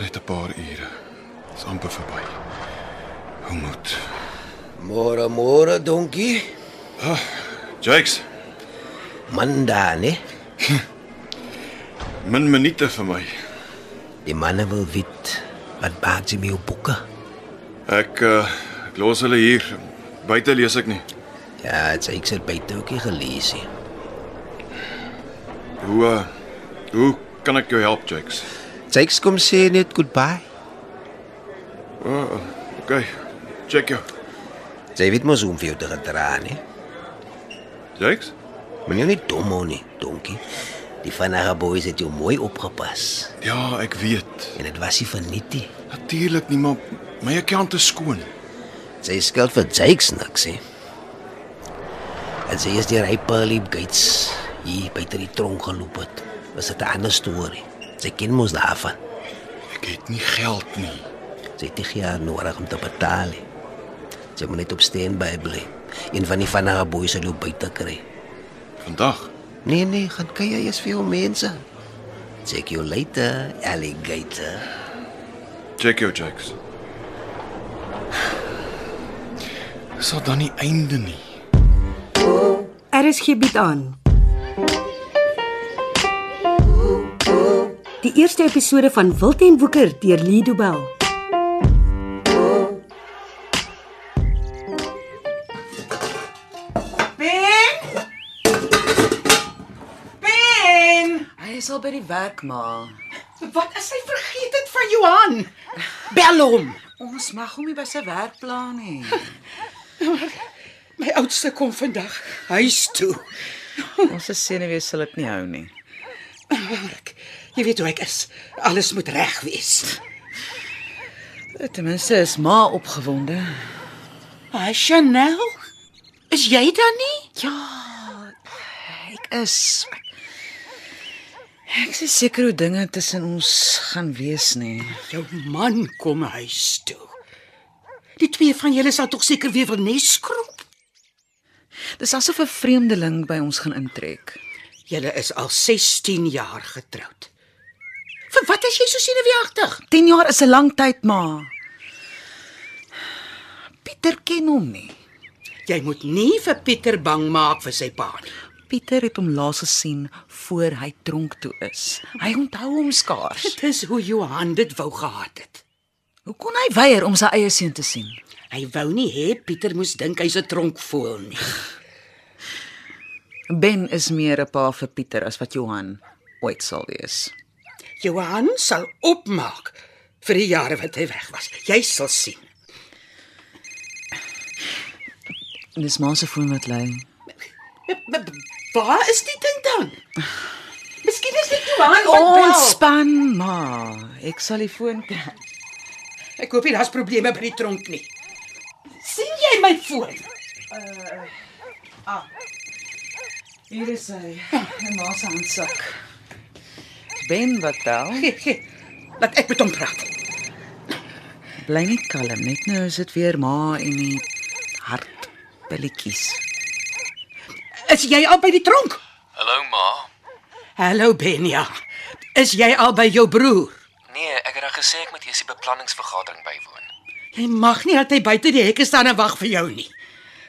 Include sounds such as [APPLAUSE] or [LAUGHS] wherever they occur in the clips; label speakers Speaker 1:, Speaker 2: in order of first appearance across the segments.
Speaker 1: net 'n paar ure. Dis amper verby. Hoe moet?
Speaker 2: Môre môre donkie.
Speaker 1: Jakes,
Speaker 2: Manda, né?
Speaker 1: min minute vir my.
Speaker 2: Die manne wil weet wat maak jy met jou boeke?
Speaker 1: Ek uh ek los hulle hier. Buite lees ek nie.
Speaker 2: Ja, dit's ek sit by Toukie gelees. hè.
Speaker 1: Hoe uh, hoe kan ek jou help, Jakes?
Speaker 2: Jakes kom sê net goodbye.
Speaker 1: Okay. Check jou.
Speaker 2: Jy weet mos hoe om vir jou te gedra, né?
Speaker 1: Jakes?
Speaker 2: Moenie net dom hou nie, donkie. Die vanare boys het jou mooi opgepas
Speaker 1: Ja, ek weet.
Speaker 2: en dit was nie verniet nie.
Speaker 1: Natuurlik nie, maar my account is skoon.
Speaker 2: Sy skuld vir Jakes niks hè. En sy is deur hy Pearly Gates hier by die tronk geloop het. Was dit 'n ander storie. Sy ken mos daarvan.
Speaker 1: Ek het nie geld nie.
Speaker 2: Sy het nie gejaar nodig om te betaal nie. Sy moet net op standby bly. Een van die van haar boeis sal jou buite kry.
Speaker 1: Vandag.
Speaker 2: Nee nee, gaan kyk jy is vir jou mense. Check you later, alligator.
Speaker 1: Check jou, Jakes. Is daar dan nie einde nie?
Speaker 3: RSG bied Er aan. Die eerste episode van Wild en Woeker deur Lido Bell.
Speaker 4: Ben! Ben!
Speaker 5: Hy is al by die werk, ma.
Speaker 4: Wat as hy vergeet het van Johan? Bel hom.
Speaker 5: Ons mag hom nie by sy werk pla nie.
Speaker 4: My oudste kom vandag huis toe.
Speaker 5: Ons se senuwee sal dit nie hou nie.
Speaker 4: Ek, jy weet hoe ek is. Alles moet reg wees.
Speaker 5: Ten minste is ma opgewonde.
Speaker 4: Ai Chanel, is jy dan nie?
Speaker 5: Ja, ek is Ek is seker hoe dinge tussen ons gaan wees nie.
Speaker 4: Jou man kom huis toe. Die twee van julle sal tog seker weer wil nes skroep.
Speaker 5: Dis asof 'n vreemdeling by ons gaan intrek.
Speaker 4: Julle is al 16 jaar getroud. Vir wat is jy so senuweeagtig?
Speaker 5: 10 jaar is 'n lang tyd, ma. Pieter ken hom nie.
Speaker 4: Jy moet nie vir Pieter bang maak vir sy pa nie.
Speaker 5: Pieter het hom laas gesien voor hy tronk toe is. Hy onthou hom
Speaker 4: [LAUGHS]
Speaker 5: skaars.
Speaker 4: Dit is hoe Johan dit wou gehad het.
Speaker 5: Hoe kon hy weier om sy eie seun te sien?
Speaker 4: Hy wou nie hê Pieter moes dink hy's 'n tronkvoël nie.
Speaker 5: Ben is meer 'n pa vir Pieter as wat Johan ooit sal wees.
Speaker 4: Johan sal opmaak vir die jare wat hy weg was. Jy sal sien.
Speaker 5: En dis ma se foon wat lui.
Speaker 4: Maar Waar is die ding dan? Miskien is dit Johan wat bel.
Speaker 5: Ontspan ma, ek sal die foon kry.
Speaker 4: Ek hoop nie daar's probleme by die tronk nie. sien jy my foon?
Speaker 5: Uh, ah. Hier is hy, in ma se handsak. Ben wat bel,
Speaker 4: Gee, gee. Laat ek met hom praat.
Speaker 5: bly net kalm. Net nou is dit weer ma en die hartpilletjies.
Speaker 4: Is jy al by die tronk?
Speaker 6: Hallo ma.
Speaker 4: Hallo Benja. Is jy al by jou broer?
Speaker 6: Nee, ek het nou gesê ek moet eers die beplanningsvergadering bywoon.
Speaker 4: Jy mag nie dat hy buite die hekke staan en wag vir jou nie.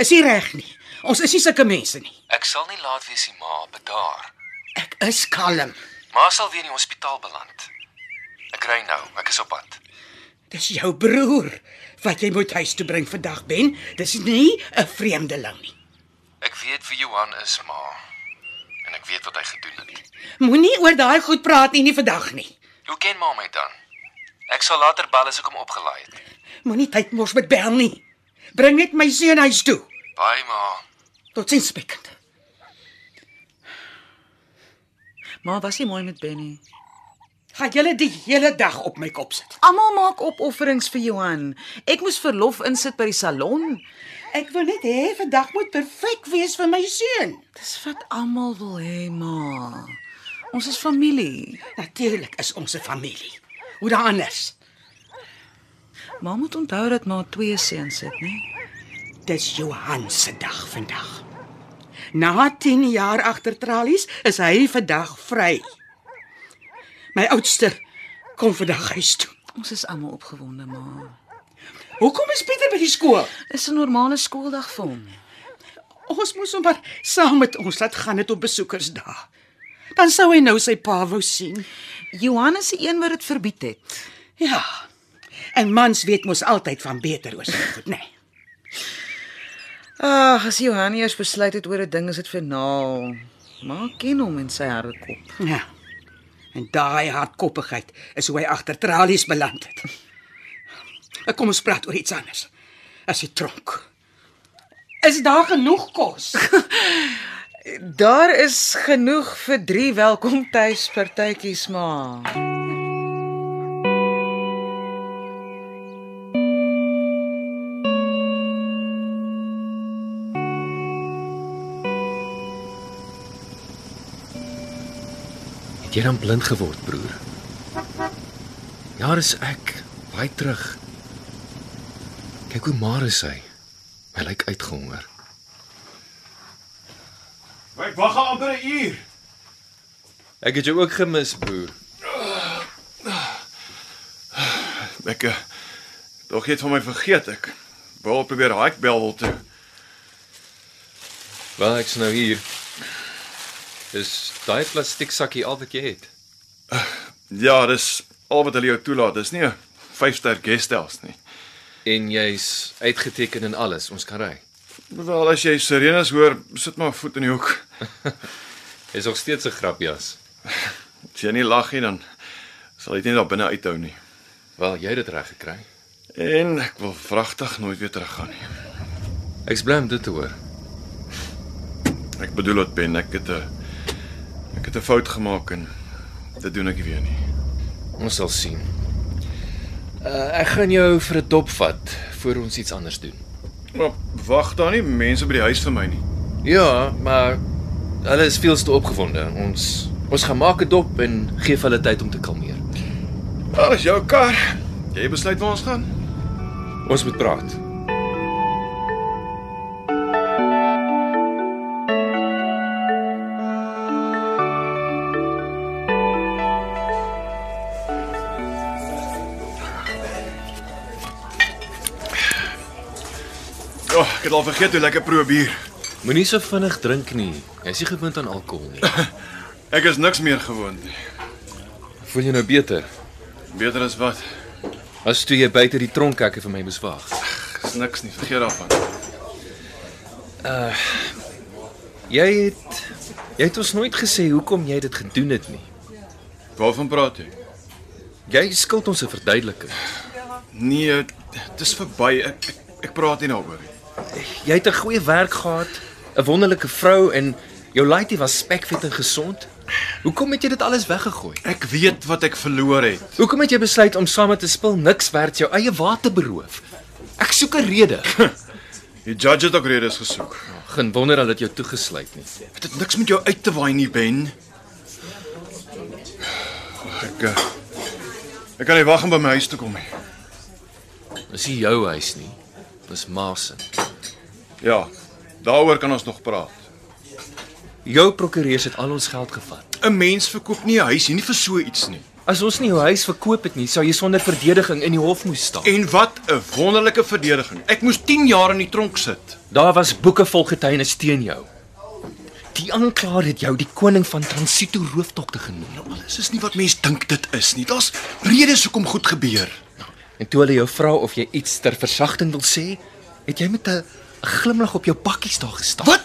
Speaker 4: Is nie reg nie. Ons is nie sulke mense nie.
Speaker 6: Ek sal nie laat wees nie, ma, bedaar.
Speaker 4: Ek is kalm.
Speaker 6: Ma sal weer in die hospitaal beland. Ek ry nou, ek is op pad.
Speaker 4: Dis jou broer wat jy moet huis toe bring vandag, Ben. Dis nie 'n vreemdeling nie.
Speaker 6: Ek weet wie Johan is, ma. En ek weet wat hy gedoen het.
Speaker 4: Moenie oor daai goed praat nie, nie vandag nie.
Speaker 6: Hoe ken ma my dan? Ek sal later bel as ek hom opgelaai het.
Speaker 4: Moenie tyd mors met bel nie. Bring net my seun huis toe.
Speaker 6: Bye, ma.
Speaker 4: Totsiens, my kind.
Speaker 5: Ma was nie mooi met Ben nie.
Speaker 4: Gaan julle die hele dag op my kop sit.
Speaker 5: Almal maak opofferings vir Johan. Ek moes verlof insit by die salon.
Speaker 4: Ek wil net hê vandag moet perfek wees vir my seun.
Speaker 5: Dis wat almal wil hê, ma. Ons is familie.
Speaker 4: Natuurlik is ons 'n familie. Hoe dan anders?
Speaker 5: Ma moet onthou dat ma twee seuns het, né?
Speaker 4: Dis Johan se dag vandag. Na 10 jaar agter tralies is hy vandag vry. My oudste kom vandag huis toe.
Speaker 5: Ons is almal opgewonde, maar
Speaker 4: Hoekom is Pieter by die skool?
Speaker 5: is 'n normale skooldag vir hom.
Speaker 4: Ons moes hom maar saam met ons laat gaan dit op besoekersdag. Dan sou hy nou sy pa wou sien.
Speaker 5: Johannes se een wat dit verbied het.
Speaker 4: Ja. En mans weet mos altyd van beter oor sy goed, nê? Nee.
Speaker 5: Ag, as Johannes eers besluit het oor 'n ding, is dit finaal. Maar ken hom in sy harde kop.
Speaker 4: Ja. En daai hardkoppigheid is hoe hy agter tralies beland het. Ek kom ons praat oor iets anders. As die tronk. Is daar genoeg kos?
Speaker 5: Daar is genoeg vir drie welkom tuispartytjies, maar
Speaker 7: Het jy dan blind geword, broer? Ja, dis ek, baie terug. Kyk hoe maar is hy. Hy lyk uitgehonger.
Speaker 1: Ek wag al amper 'n uur.
Speaker 7: Ek het jou ook gemis, broer.
Speaker 1: Ek eh, dog jy het van my vergeet ek. Wou al probeer hike bel wil toe.
Speaker 7: Wel, ek's nou hier. Is daai plastiek sakkie al wat jy het?
Speaker 1: Ja, dis al wat hulle jou toelaat. Dis nie 'n vyfster guesthels nie.
Speaker 7: En jy's uitgeteken en alles. Ons kan ry.
Speaker 1: Wel as jy sirenes hoor, sit maar voet in die hoek.
Speaker 7: Is nog steeds 'n grapjas.
Speaker 1: As jy nie lag nie dan sal jy dit nie daar binne uithou nie.
Speaker 7: Wel, jy het dit reg gekry.
Speaker 1: En ek wil vragtig nooit weer teruggaan nie.
Speaker 7: Ek's bly om dit te hoor.
Speaker 1: Ek bedoel dit Ben, ek het 'n ek het 'n fout gemaak en dit doen ek nie weer nie.
Speaker 7: Ons sal sien. Uh, ek gaan jou vir 'n dop vat voor ons iets anders doen.
Speaker 1: Maar wag daar nie mense by die huis vir my nie.
Speaker 7: Ja, maar hulle is veel te opgewonde. Ons ons gaan maak 'n dop en gee hulle tyd om te kalmeer.
Speaker 1: Waar is jou kar? Jy besluit waar ons gaan.
Speaker 7: Ons moet praat.
Speaker 1: Ja, oh, ek het al vergeet hoe lekker proe bier.
Speaker 7: Moenie so vinnig drink nie. Jy's nie gewoond aan alkohol nie.
Speaker 1: Ek is niks meer gewoond nie.
Speaker 7: Voel jy nou beter?
Speaker 1: Beter as wat?
Speaker 7: As toe jy buite die tronkhekke vir my moes wag.
Speaker 1: Dis niks nie, vergeet daarvan.
Speaker 7: Jy het jy het ons nooit gesê hoekom jy dit gedoen het nie.
Speaker 1: Waarvan praat jy?
Speaker 7: Jy skuld ons 'n verduideliking.
Speaker 1: Nee, dit is verby. Ek ek, ek praat nie daaroor nie.
Speaker 7: Jy het 'n goeie werk gehad, 'n wonderlike vrou en jou laaitie was spekvet en gesond. Hoekom het jy dit alles weggegooi?
Speaker 1: Ek weet wat ek verloor het.
Speaker 7: Hoekom het jy besluit om saam met te spil niks werd jou eie water beroof? Ek soek 'n rede.
Speaker 1: Die judge het ook redes gesoek.
Speaker 7: [LAUGHS] Geen wonder hulle het jou toegesluit nie.
Speaker 1: Dit het niks met jou uit te waai nie, Ben. Ek eh, Ek kan nie wag om by my huis te kom nie.
Speaker 7: Dis nie jou huis nie. Dis Mason.
Speaker 1: Ja, daaroor kan ons nog praat.
Speaker 7: Jou prokureurs het al ons geld gevat.
Speaker 1: 'n Mens verkoop nie 'n huis nie vir so iets nie.
Speaker 7: As ons nie jou huis verkoop het nie, sou jy sonder verdediging in die hof moes staan.
Speaker 1: En wat 'n wonderlike verdediging. Ek moes 10 jaar in die tronk sit.
Speaker 7: Daar was boeke vol getuienis teen jou. Die aanklaer het jou die koning van Transito rooftogte genoem.
Speaker 1: Alles is nie wat mens dink dit is nie. Daar's redes hoekom goed gebeur.
Speaker 7: En toe hulle jou vra of jy iets ter versagting wil sê, het jy met 'n 'n glimlag op jou bakkies daar gestaan.
Speaker 1: Wat?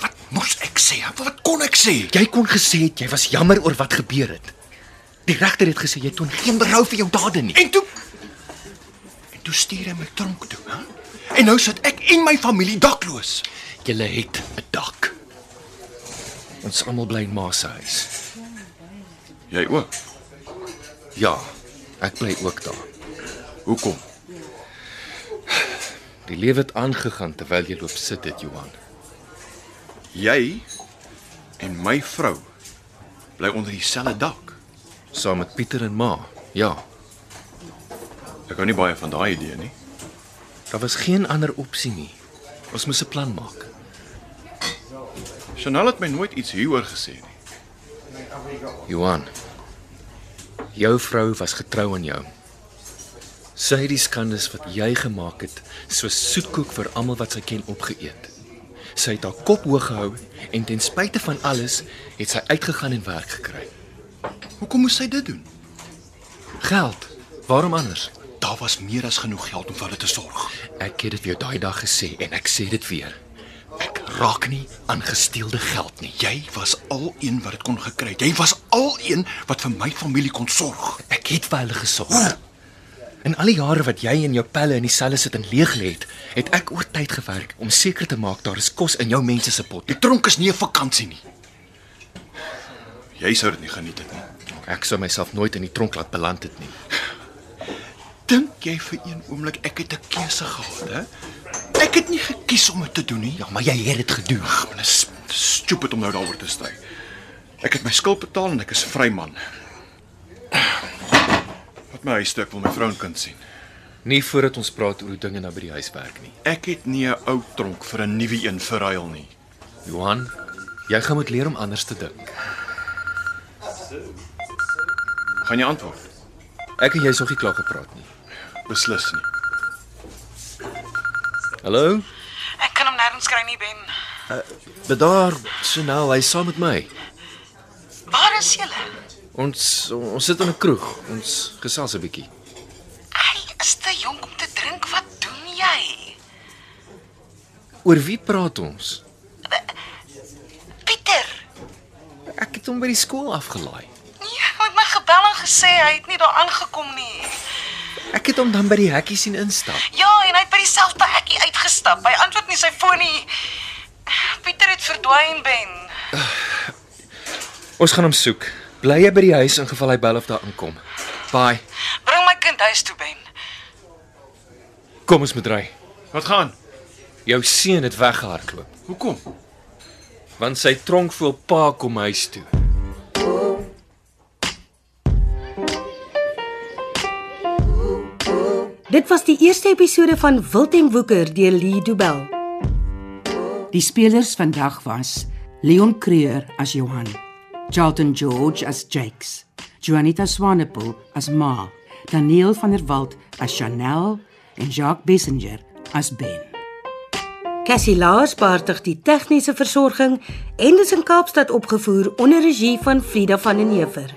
Speaker 1: Wat moes ek sê? Wat kon ek sê?
Speaker 7: Jy kon gesê het jy was jammer oor wat gebeur het. Die regter het gesê jy toon geen berou vir jou dade nie.
Speaker 1: En toe En toe stuur hy my tronk toe, hè? En nou sit ek en my familie dakloos.
Speaker 7: Jy het 'n dak. Ons almal bly in ma se huis.
Speaker 1: Jy ook.
Speaker 7: Ja, ek bly ook daar.
Speaker 1: Hoekom?
Speaker 7: Die lewe het aangegaan terwyl jy loop sit het, Johan.
Speaker 1: Jy en my vrou bly onder dieselfde dak.
Speaker 7: Saam met Pieter en ma. Ja,
Speaker 1: Ek hou nie baie van daai idee nie.
Speaker 7: daar was geen ander opsie nie. Ons moes 'n plan maak.
Speaker 1: Chanel het my nooit iets hieroor gesê nie.
Speaker 7: Johan. Jou vrou was getrou aan jou Sy het die skandes wat jy gemaak het, so soetkoek vir almal wat sy ken opgeëet. Sy het haar kop hoog gehou en ten spyte van alles het sy uitgegaan en werk gekry.
Speaker 1: Hoekom moes sy dit doen?
Speaker 7: Geld. Waarom anders?
Speaker 1: Daar was meer as genoeg geld om vir hulle te sorg.
Speaker 7: Ek het dit vir jou daai dag gesê en ek sê dit weer. Ek raak nie aan gesteelde geld nie.
Speaker 1: Jy was al een wat dit kon gekry het. Jy was al een wat vir my familie kon sorg.
Speaker 7: Ek het vir hulle gesorg. In al die jare wat jy en jou pelle in die selle sit en leeg lê het, het ek oor tyd gewerk om seker te maak daar is kos in jou mense se pot.
Speaker 1: Die tronk is nie 'n vakansie nie. Jy sou dit nie geniet het nie.
Speaker 7: Ek sou myself nooit in die tronk laat beland het nie.
Speaker 1: Dink jy vir een oomblik ek het 'n keuse gehad, hè? Ek het nie gekies om dit te doen nie. Ja,
Speaker 7: Maar jy het dit gedoen.
Speaker 1: Ag, man, is stupid om nou daaroor te stry. Ek het my skuld betaal en ek is 'n vryman. Wat my huisstuk wil my vrou en kind sien.
Speaker 7: Nie voordat ons praat oor hoe dinge nou by die huis werk nie.
Speaker 1: Ek het nie 'n ou tronk vir 'n nuwe een verruil nie.
Speaker 7: Johan, jy gaan moet leer om anders te dink.
Speaker 1: Gaan jy antwoord?
Speaker 7: Ek en jy is nog nie klaar gepraat nie.
Speaker 1: Beslis nie.
Speaker 7: Hallo? Eh,
Speaker 8: Ek kan hom nêrens kry nie, Ben.
Speaker 7: Bedaar, Chanel, hy is saam met my.
Speaker 8: Waar is julle?
Speaker 7: Ons ons sit in 'n kroeg. Ons gesels 'n bietjie.
Speaker 8: Hy is te jonk om te drink. Wat doen jy?
Speaker 7: Oor wie praat ons?
Speaker 8: Pieter.
Speaker 7: Ek het hom by die skool afgelaai.
Speaker 8: Nee, hy het my gebel en gesê hy het nie daar aangekom nie.
Speaker 7: Ek het hom dan by die hekkie sien instap.
Speaker 8: Ja, en hy het by dieselfde hekkie uitgestap. Hy antwoord nie sy foon nie. Pieter het verdwyn, Ben.
Speaker 7: Ons gaan hom soek. Bly jy by die huis in geval hy bel of daar aankom. Bye.
Speaker 8: Bring my kind huis toe, Ben.
Speaker 7: Kom ons bedry.
Speaker 1: Wat gaan?
Speaker 7: Jou seun het weggehardloop
Speaker 1: Hoekom?
Speaker 7: want sy tronkvoel pa kom huis toe.
Speaker 4: Dit was die eerste episode van Wild en Woeker deur Lee Du Bell.
Speaker 5: Die spelers vandag was Leon Creer as Johan, Charlton George as Jakes, Juanita Swanepoel as Ma, Daniel van der Walt as Chanel en Jacques Bessenger as Ben.
Speaker 4: Cassie Lars beheerdig die tegniese versorging en dit is in Kaapstad opgevoer onder regie van Frida van den Heever.